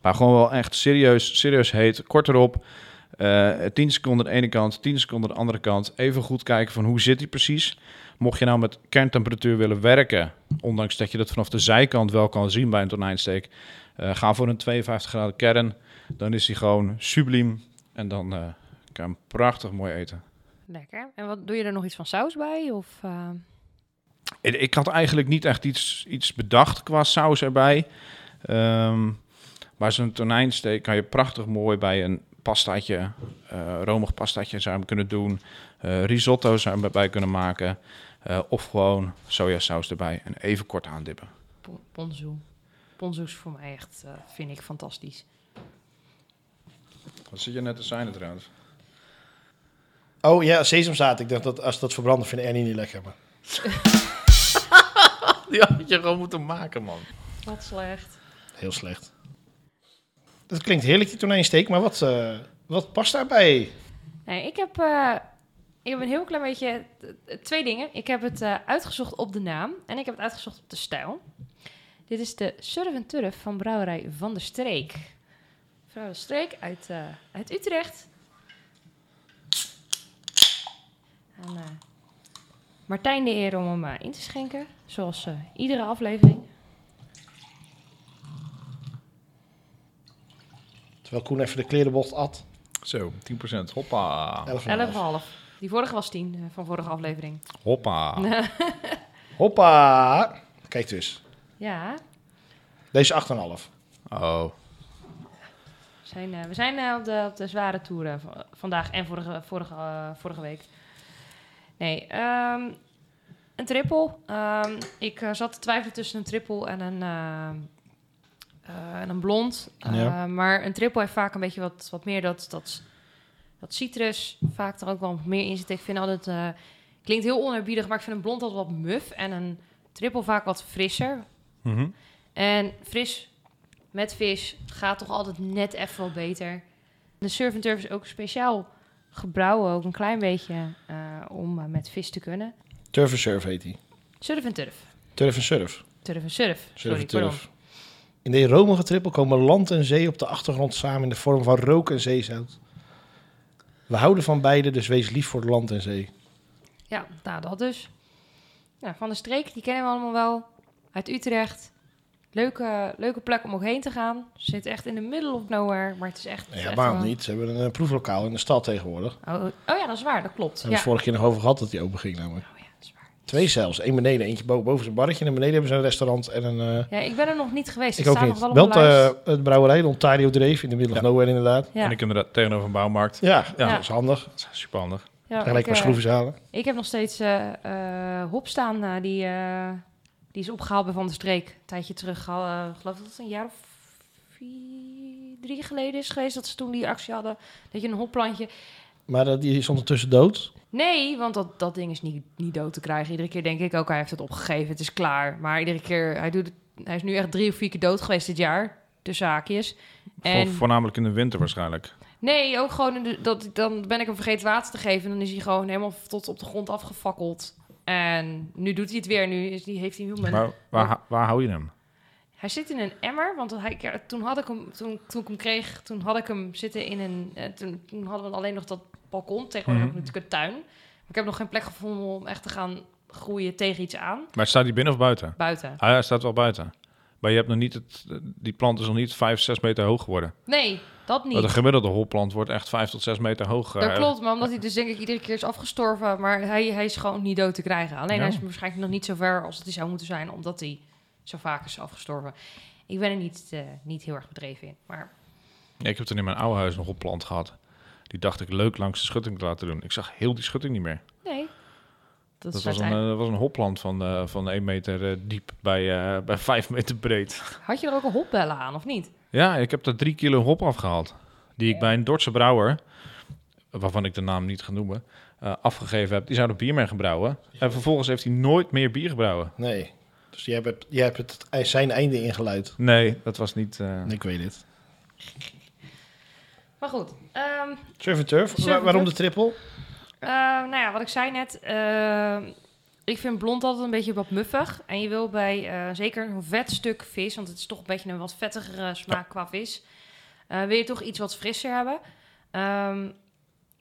Speaker 2: Maar gewoon wel echt serieus, serieus heet. Kort erop. Eh 10 seconden aan de ene kant, 10 seconden aan de andere kant. Even goed kijken van hoe zit die precies. Mocht je nou met kerntemperatuur willen werken, ondanks dat je dat vanaf de zijkant wel kan zien bij een tonijnsteek, eh, ga voor een 52 graden kern. Dan is hij gewoon subliem. En dan eh, kan je hem prachtig mooi eten.
Speaker 3: Lekker. En wat, doe je er nog iets van saus bij? Of, eh,
Speaker 2: Ik, ik had eigenlijk niet echt iets, iets bedacht qua saus erbij. Ehm, maar zo'n tonijnsteek kan je prachtig mooi bij een pastaatje, eh, romig pastaatje zou je hem kunnen doen. Eh, risotto zou je hem erbij kunnen maken. Eh, of gewoon sojasaus erbij en even kort aandippen.
Speaker 3: pon- ponzu. Ponzu is voor mij echt, eh, vind ik, fantastisch.
Speaker 2: Wat zit je net te zijn trouwens?
Speaker 1: Oh ja, sesamzaad. Ik dacht dat als dat verbranden vindt Annie niet lekker. Maar...
Speaker 2: Die had je gewoon moeten maken, man.
Speaker 3: Wat slecht.
Speaker 1: Heel slecht. Dat klinkt heerlijk, die tonijnsteek. Maar wat, eh, wat past daarbij?
Speaker 3: Nee, ik heb, eh, ik heb een heel klein beetje... eh, twee dingen. Ik heb het eh, uitgezocht op de naam. En ik heb het uitgezocht op de stijl. Dit is de Surf en Turf van brouwerij Van der Streek. Van der Streek uit, eh, uit Utrecht. Aan eh, Martijn de eer om hem eh, in te schenken. Zoals eh, iedere aflevering.
Speaker 1: Terwijl Koen even de klerenbocht at.
Speaker 2: Zo, 10%. Hoppa.
Speaker 1: 11,5.
Speaker 3: 11,5. Die vorige was 10 eh, van vorige aflevering.
Speaker 2: Hoppa.
Speaker 1: Hoppa. Kijk dus.
Speaker 3: Ja,
Speaker 1: Deze 8,5.
Speaker 2: Oh.
Speaker 3: we zijn, eh, we zijn eh, op, de, op de zware toeren v- vandaag en vorige, vorige, eh, vorige week. Nee, ehm, een triple. Ehm, ik eh, zat te twijfelen tussen een triple en een, eh, eh, en een blond. Eh,
Speaker 1: Ja.
Speaker 3: Maar een triple heeft vaak een beetje wat, wat meer dat, dat, dat citrus. Vaak er ook wel meer in zit. Ik vind altijd... eh, klinkt heel onerbiedig, maar ik vind een blond altijd wat muf. En een triple vaak wat frisser.
Speaker 2: Mhm.
Speaker 3: En fris met vis gaat toch altijd net even wel beter. De surf and turf is ook speciaal gebrouwen, ook een klein beetje, eh, om eh, met vis te kunnen.
Speaker 1: Turf en surf heet die.
Speaker 3: Surf en turf.
Speaker 1: Turf en surf.
Speaker 3: Turf en surf.
Speaker 1: Surf
Speaker 3: Sorry,
Speaker 1: en
Speaker 3: pardon.
Speaker 1: turf. In de romige trippel komen land en zee op de achtergrond samen in de vorm van rook en zeezout. We houden van beide, dus wees lief voor land en zee.
Speaker 3: Ja, nou dat dus. Nou, van de streek, die kennen we allemaal wel. Uit Utrecht. Leuke, leuke plek om ook heen te gaan. Ze zit echt in de middle of nowhere, maar het is echt... het is
Speaker 1: Ja,
Speaker 3: echt
Speaker 1: maar
Speaker 3: wel-
Speaker 1: niet. Ze hebben een eh, proeflokaal in de stad tegenwoordig. Daar
Speaker 3: Oh, oh ja, dat is waar, dat klopt.
Speaker 1: hebben we
Speaker 3: Ja.
Speaker 1: het vorige keer nog over gehad dat die open ging namelijk.
Speaker 3: Oh ja, dat is waar.
Speaker 1: Twee zelfs. Eén beneden, eentje boven, boven zijn barretje. En beneden hebben ze een restaurant en een... eh,
Speaker 3: Ja, ik ben er nog niet geweest.
Speaker 1: ik
Speaker 3: Het
Speaker 1: ook
Speaker 3: staat
Speaker 1: niet.
Speaker 3: nog wel
Speaker 1: Wel
Speaker 3: op mijn lijst.
Speaker 1: eh, het brouwerij, de Ontario Dreef, in de middel of
Speaker 2: Ja.
Speaker 1: nowhere inderdaad.
Speaker 3: Ja.
Speaker 2: En ik inderdaad tegenover een bouwmarkt.
Speaker 1: Ja, ja,
Speaker 3: Ja.
Speaker 1: dat is handig.
Speaker 2: Dat is super handig.
Speaker 3: Ja,
Speaker 1: Gelijk
Speaker 3: ik,
Speaker 1: maar
Speaker 3: eh,
Speaker 1: schroeven halen.
Speaker 3: Ik heb nog steeds eh, eh, Hop staan, eh, die, eh, die is opgehaald bij Van der Streek. Een tijdje terug, al, eh, geloof dat het een jaar of vier, drie geleden is geweest... dat ze toen die actie hadden, dat je een hopplantje...
Speaker 1: Maar dat die is ondertussen dood.
Speaker 3: Nee, want dat, dat ding is niet, niet dood te krijgen. Iedere keer denk ik ook, hij heeft het opgegeven, het is klaar. Maar iedere keer, hij, doet het- hij is nu echt drie of vier keer dood geweest dit jaar... De zaakjes. En
Speaker 2: Vo- Voornamelijk in de winter waarschijnlijk.
Speaker 3: nee, ook gewoon in de- dat, dan ben ik hem vergeten water te geven. En dan is hij gewoon helemaal tot op de grond afgefakkeld. En nu doet hij het weer. Nu is, die, heeft hij human.
Speaker 2: Maar waar, waar hou je hem?
Speaker 3: Hij zit in een emmer, want hij, ja, toen, had ik hem, toen, toen ik hem kreeg, toen had ik hem zitten in een... eh, toen, toen hadden we alleen nog dat balkon, tegenwoordig heb
Speaker 2: Mhm.
Speaker 3: ik natuurlijk een tuin. Maar ik heb nog geen plek gevonden om echt te gaan groeien tegen iets aan,
Speaker 2: Maar staat hij binnen of buiten?
Speaker 3: buiten.
Speaker 2: Ah, hij staat wel buiten. Maar je hebt nog niet het, die plant is nog niet 5, 6 meter hoog geworden.
Speaker 3: Nee, dat niet.
Speaker 2: Want een gemiddelde holplant wordt echt 5 tot 6 meter hoog. eh,
Speaker 3: Dat klopt, maar omdat hij dus denk ik iedere keer is afgestorven. Maar hij, hij is gewoon niet dood te krijgen. Alleen
Speaker 2: Ja.
Speaker 3: hij is waarschijnlijk nog niet zo ver als het zou moeten zijn. Omdat hij zo vaak is afgestorven. Ik ben er niet, eh, niet heel erg bedreven in. Maar
Speaker 2: Ja, ik heb toen in mijn oude huis nog hopplant gehad. Die dacht ik leuk langs de schutting te laten doen. Ik zag heel die schutting niet meer.
Speaker 3: nee. Dat,
Speaker 2: Dat
Speaker 3: is
Speaker 2: was een,
Speaker 3: uiteindelijk-
Speaker 2: eh, was een hopplant van, eh, van 1 meter eh, diep bij, eh, bij 5 meter breed.
Speaker 3: Had je er ook een hopbellen aan, of niet?
Speaker 2: Ja, ik heb daar 3 kilo hop afgehaald. Die ik bij een Dordtse brouwer, waarvan ik de naam niet ga noemen, eh, afgegeven heb. Die zouden bier mee gebrouwen. En vervolgens heeft hij nooit meer bier gebrouwen.
Speaker 1: Nee. Dus jij hebt, jij hebt het, zijn einde ingeluid.
Speaker 2: Nee, dat was niet. eh,
Speaker 1: Ik weet het.
Speaker 3: Maar goed, ehm,
Speaker 1: Surf and Turf. Wa-
Speaker 3: Surf and
Speaker 1: waarom
Speaker 3: turf.
Speaker 1: de triple?
Speaker 3: eh, nou ja, wat ik zei net. eh, ik vind blond altijd een beetje wat muffig. En je wil bij eh, zeker een vet stuk vis, want het is toch een beetje een wat vettigere smaak qua vis. eh, wil je toch iets wat frisser hebben. Ehm,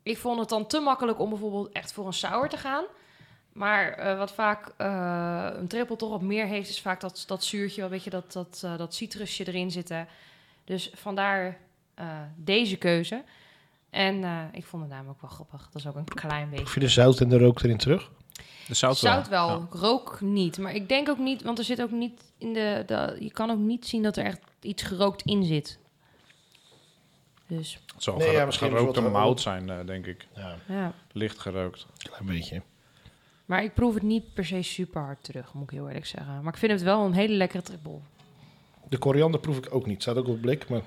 Speaker 3: ik vond het dan te makkelijk om bijvoorbeeld echt voor een sour te gaan. Maar eh, wat vaak eh, een triple toch wat meer heeft, is vaak dat, dat zuurtje, wel een beetje dat, dat, eh, dat citrusje erin zitten. Dus vandaar eh, deze keuze. En eh, ik vond de naam ook wel grappig. Dat is ook een klein beetje.
Speaker 1: Proef je de zout en de rook erin terug?
Speaker 2: De zout,
Speaker 3: Zout wel,
Speaker 2: Ja.
Speaker 3: rook niet. Maar ik denk ook niet, want er zit ook niet in de, de... Je kan ook niet zien dat er echt iets gerookt in zit. Dus,
Speaker 2: Het zou
Speaker 1: Nee,
Speaker 2: gero-
Speaker 1: ja, misschien
Speaker 2: gerookte
Speaker 1: is wat-
Speaker 2: mout zijn, eh, denk ik.
Speaker 1: Ja,
Speaker 3: ja.
Speaker 2: Licht gerookt.
Speaker 1: een klein beetje.
Speaker 3: Maar ik proef het niet per se super hard terug, moet ik heel eerlijk zeggen. Maar ik vind het wel een hele lekkere triple.
Speaker 1: De koriander proef ik ook niet. Staat ook op het blik, maar...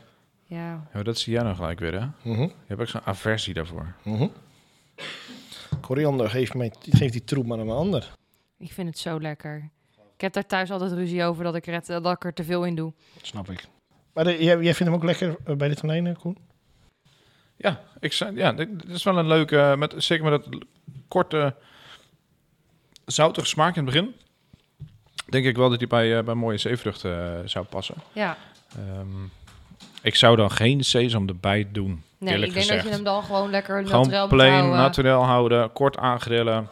Speaker 3: Ja,
Speaker 2: Ja, maar dat zie jij nou gelijk weer, hè?
Speaker 1: Mhm,
Speaker 2: Je hebt ook zo'n aversie daarvoor.
Speaker 1: mhm. Koriander geeft, mij, geeft die troep maar aan een ander.
Speaker 3: ik vind het zo lekker. Ik heb daar thuis altijd ruzie over dat ik er, eh, dat ik er te veel in doe.
Speaker 1: Dat snap ik. Maar de- jij, jij vindt hem ook lekker eh, bij de tonijnen, Koen?
Speaker 2: Ja, ik zei, ja, dit, dit is wel een leuke, eh, met, zeker met dat l- korte zoutige smaak in het begin. Denk ik wel dat die bij, eh, bij mooie zeevruchten eh, zou passen.
Speaker 3: Ja,
Speaker 2: Ehm, ik zou dan geen sesam erbij doen.
Speaker 3: nee,
Speaker 2: eerlijk
Speaker 3: ik denk
Speaker 2: gezegd.
Speaker 3: dat je hem dan gewoon lekker
Speaker 2: Gewoon
Speaker 3: neutraal moet
Speaker 2: plain,
Speaker 3: houden.
Speaker 2: naturel houden, kort aangrillen.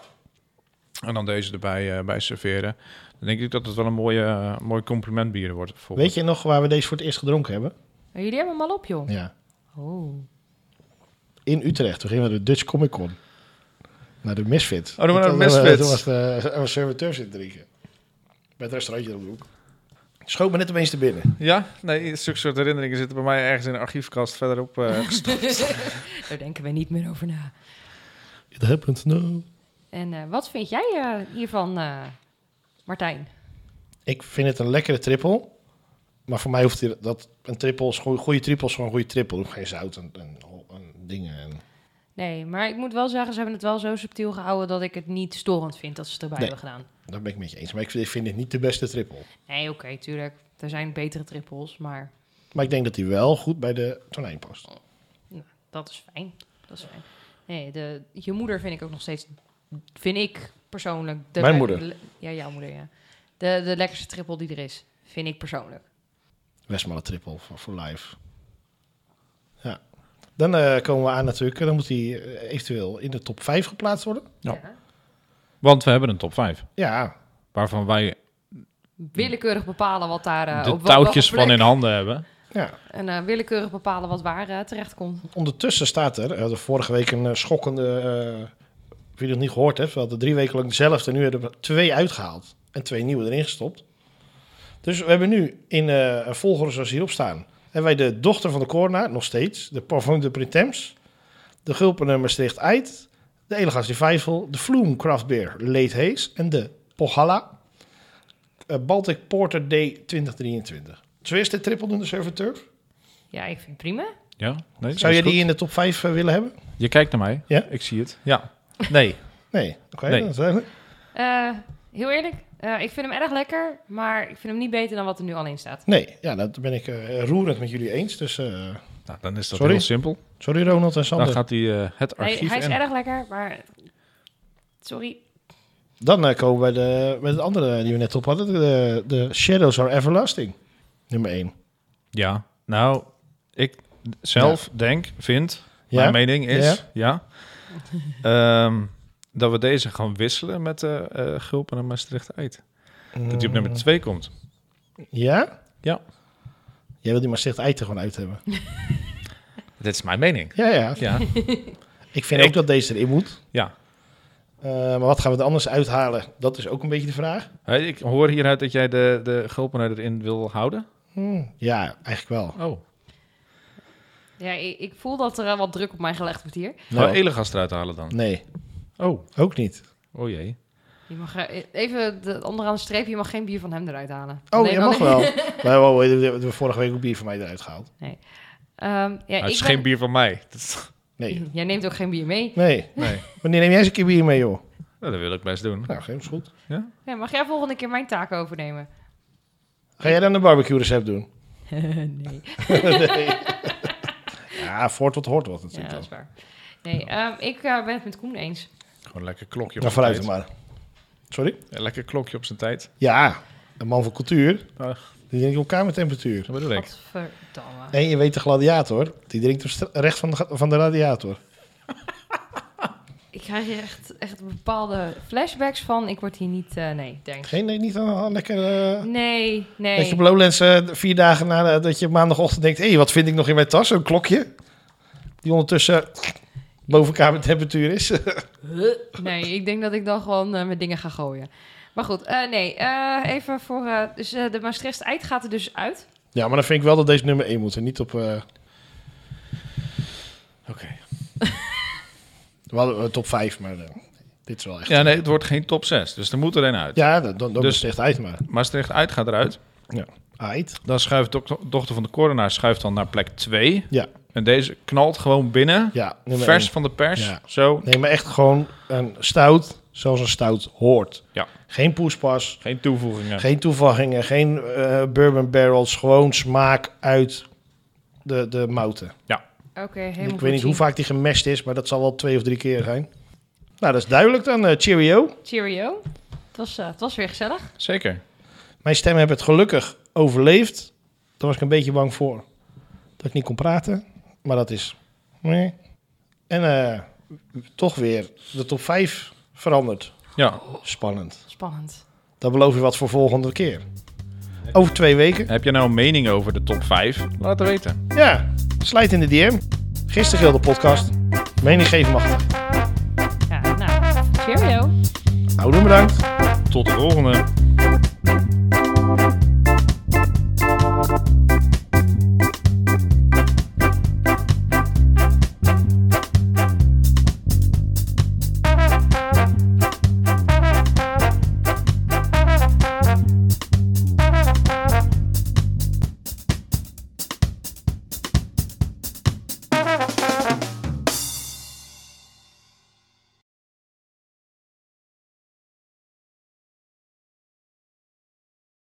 Speaker 2: En dan deze erbij eh, bij serveren. Dan denk ik dat het wel een mooie, eh, mooi compliment bier wordt.
Speaker 1: Weet je nog waar we deze voor het eerst gedronken hebben?
Speaker 3: Jullie hebben hem al op, joh.
Speaker 1: Ja.
Speaker 3: Oh.
Speaker 1: In Utrecht. Toen gingen we naar de Dutch Comic Con. Naar de Misfit.
Speaker 2: Oh, toen waren we
Speaker 1: Toen-
Speaker 2: naar de
Speaker 1: eh,
Speaker 2: Misfits.
Speaker 1: Toen was de was serviteur zitten drinken. Bij het restaurantje om de hoek. Schoot me net opeens te binnen.
Speaker 2: Ja? Nee, zulke soort herinneringen zitten bij mij ergens in een archiefkast verderop. eh,
Speaker 3: Daar denken we niet meer over na.
Speaker 1: It happened now.
Speaker 3: En eh, wat vind jij eh, hiervan, eh, Martijn?
Speaker 1: Ik vind het een lekkere triple. Maar voor mij hoeft die- dat een triple, is gewoon- goede triple is gewoon een goede triple. Er hoeft geen zout en, en, en dingen. En,
Speaker 3: Nee, maar ik moet wel zeggen, ze hebben het wel zo subtiel gehouden dat ik het niet storend vind dat ze het erbij
Speaker 1: Nee.
Speaker 3: hebben gedaan.
Speaker 1: dat ben ik met je eens. Maar ik vind, ik vind dit niet de beste triple.
Speaker 3: Nee, oké, tuurlijk. Er zijn betere trippels, maar
Speaker 1: Maar ik denk dat die wel goed bij de tonijn past.
Speaker 3: dat is fijn. Dat is fijn. Nee, de, je moeder vind ik ook nog steeds, vind ik persoonlijk... De
Speaker 1: Mijn
Speaker 3: le-
Speaker 1: moeder?
Speaker 3: le- ja, jouw moeder, ja. De, de lekkerste trippel die er is, vind ik persoonlijk.
Speaker 1: Westmalle triple voor, voor live. Ja. Dan eh, komen we aan natuurlijk. en Dan moet die eh, eventueel in de top 5 geplaatst worden.
Speaker 2: Ja. Want we hebben een top 5.
Speaker 1: Ja,
Speaker 2: Waarvan wij
Speaker 3: Willekeurig bepalen wat daar... eh,
Speaker 2: de
Speaker 3: op wat-
Speaker 2: touwtjes
Speaker 3: welke
Speaker 2: van in
Speaker 3: plek-
Speaker 2: handen hebben.
Speaker 1: ja.
Speaker 3: En eh, willekeurig bepalen wat waar eh, terecht terechtkomt.
Speaker 1: Ondertussen staat er, eh, de vorige week een eh, schokkende, eh wie dat niet gehoord heeft, we hadden drie weken lang dezelfde en nu hebben we er twee uitgehaald en twee nieuwe erin gestopt. Dus we hebben nu in eh een volgorde zoals hierop staan, hebben wij de dochter van de Corna, nog steeds, de Parfum de Printemps, de Gulpener Maastricht Eid, de Elegans Revival, de Vloem Craft Beer Late Haze en de Pogalla eh, Baltic Porter D 2023. Zo is de triple doen de serviteur.
Speaker 3: Ja, ik vind het prima.
Speaker 2: Ja? Nee,
Speaker 1: Zou
Speaker 2: is
Speaker 1: je die
Speaker 2: goed.
Speaker 1: in de top 5 willen hebben?
Speaker 2: Je kijkt naar mij.
Speaker 1: Ja?
Speaker 2: Ik zie het. Ja. Nee.
Speaker 1: Nee, oké.
Speaker 2: Nee.
Speaker 1: dat is duidelijk.
Speaker 3: Eh, heel eerlijk, eh, ik vind hem erg lekker, maar ik vind hem niet beter dan wat er nu al in staat.
Speaker 1: Nee, ja, dat ben ik eh, roerend met jullie eens. Dus eh,
Speaker 2: Nou, dan is dat
Speaker 1: Sorry?
Speaker 2: heel simpel.
Speaker 1: sorry Ronald en
Speaker 2: Dan
Speaker 1: Sander.
Speaker 2: gaat hij eh, het
Speaker 3: Nee,
Speaker 2: archief
Speaker 3: hij is
Speaker 2: in.
Speaker 3: erg lekker, maar sorry.
Speaker 1: Dan eh, komen we bij, de, bij het andere die we net op hadden. De, de Shadows Are Everlasting. Nummer 1.
Speaker 2: Ja. Nou, ik zelf denk, vind,
Speaker 1: Ja?
Speaker 2: mijn mening is, ja, ehm, dat we deze gaan wisselen met eh eh, Gulpen en Maastricht Eid. Dat die op nummer 2 komt.
Speaker 1: Mm, Ja?
Speaker 2: Ja.
Speaker 1: Jij wil die Maastricht Eid er gewoon uit hebben.
Speaker 2: Dit is mijn mening.
Speaker 1: Ja, ja.
Speaker 2: Ja.
Speaker 1: Ik vind
Speaker 2: Ik-
Speaker 1: ook dat deze erin moet.
Speaker 2: ja.
Speaker 1: Eh, maar wat gaan we er anders uithalen? Dat is ook een beetje de vraag.
Speaker 2: Hey, Ik hoor hieruit dat jij de, de Gulpen erin wil houden.
Speaker 1: Hm, Ja, eigenlijk wel.
Speaker 2: Oh.
Speaker 3: Ja, ik, ik voel dat er eh, wat druk op mij gelegd wordt hier.
Speaker 2: Nou, Elegast eruit halen dan.
Speaker 1: nee,
Speaker 2: Oh.
Speaker 1: ook niet.
Speaker 2: Oh jee.
Speaker 3: Je mag eh, even de onderaan de streep, je mag geen bier van hem eruit halen.
Speaker 1: Oh,
Speaker 3: Nee,
Speaker 1: jij
Speaker 3: dan-
Speaker 1: mag wel. We hebben we vorige week ook bier van mij eruit gehaald.
Speaker 3: Ehm, ja,
Speaker 2: Nou, het
Speaker 3: ik
Speaker 2: is
Speaker 3: ben-
Speaker 2: geen bier van mij. Dat is-
Speaker 1: Nee.
Speaker 3: Jij neemt ook geen bier mee.
Speaker 1: Nee.
Speaker 2: Nee.
Speaker 1: Wanneer neem jij eens een keer bier mee, joh?
Speaker 2: Nou, dat wil ik best doen.
Speaker 1: Nou, geen is goed.
Speaker 3: Ja, mag jij volgende keer mijn taak overnemen?
Speaker 1: Ga jij dan een barbecue recept doen?
Speaker 3: nee.
Speaker 1: nee. Ja, Ja, voort wat hoort wat
Speaker 3: Ja,
Speaker 1: natuurlijk
Speaker 3: dat
Speaker 1: dan.
Speaker 3: is waar. Nee, ehm, ik eh, ben het met Koen eens.
Speaker 2: Gewoon een lekker klokje op
Speaker 1: Nou,
Speaker 2: zijn
Speaker 1: vooruit
Speaker 2: tijd.
Speaker 1: dan maar. Sorry?
Speaker 2: Een lekker klokje op zijn tijd.
Speaker 1: Ja, een man van cultuur.
Speaker 2: Ach.
Speaker 1: Die drinkt op kamertemperatuur.
Speaker 2: Dat bedoel ik.
Speaker 3: Godverdamme.
Speaker 1: En je weet de gladiator. Die drinkt op stra- recht van de, ga- van de radiator.
Speaker 3: Ik krijg hier echt, echt bepaalde flashbacks van. Ik word hier niet... eh, nee, thanks.
Speaker 1: Geen, nee, niet aan aan lekker... eh,
Speaker 3: Nee, nee.
Speaker 1: Dat je op Lowlands eh, vier dagen nadat dat je op maandagochtend denkt... Hé, wat vind ik nog in mijn tas? Een klokje. Die ondertussen boven kamertemperatuur is.
Speaker 3: Huh? Nee, ik denk dat ik dan gewoon eh, mijn dingen ga gooien. Maar goed, eh, nee, eh, even voor... eh, dus eh, de Maastricht Eind gaat er dus uit.
Speaker 1: ja, maar dan vind ik wel dat deze nummer 1 moet. En niet op... eh,
Speaker 2: Oké.
Speaker 1: we hadden eh, top 5, maar eh, dit is wel echt... Ja,
Speaker 2: Ja, nee, het wordt geen top 6. Dus er moet er een uit.
Speaker 1: dan, dan, dan
Speaker 2: Dus-
Speaker 1: is het echt uit maar.
Speaker 2: Maastricht uit gaat eruit.
Speaker 1: Uit.
Speaker 2: Dan schuift dok- dochter van de coronaar schuift dan naar plek 2.
Speaker 1: Ja.
Speaker 2: En deze knalt gewoon binnen.
Speaker 1: Ja, nummer
Speaker 2: Vers
Speaker 1: één.
Speaker 2: van de pers.
Speaker 1: Ja.
Speaker 2: Zo.
Speaker 1: Nee, maar echt gewoon een stout zoals een stout hoort.
Speaker 2: Ja.
Speaker 1: Geen poespas,
Speaker 2: Geen toevoegingen.
Speaker 1: Geen toevoegingen, geen eh, bourbon barrels, gewoon smaak uit de, de mouten.
Speaker 3: Oké, helemaal
Speaker 1: Ik
Speaker 3: goed,
Speaker 1: weet niet hoe
Speaker 3: Sien.
Speaker 1: vaak die gemest is, maar dat zal wel twee of drie keer zijn. Nou, dat is duidelijk dan. eh, cheerio.
Speaker 3: Cheerio. Het was, eh, het was weer gezellig.
Speaker 2: Zeker.
Speaker 1: Mijn stem heb het gelukkig overleefd. Daar was ik een beetje bang voor dat ik niet kon praten. Maar dat is... Nee. En eh, toch weer de top 5 veranderd.
Speaker 2: Ja.
Speaker 1: Spannend.
Speaker 3: Spannend.
Speaker 1: Dat beloof je wat voor volgende keer. Over twee weken.
Speaker 2: Heb je nou een mening over de top 5? Laat het weten.
Speaker 1: Ja, slijt in de DM. Gisteren heel de podcast. Mening geven mag. niet.
Speaker 3: Ja, nou, cheerio.
Speaker 1: Nou, doen bedankt.
Speaker 2: Tot de volgende.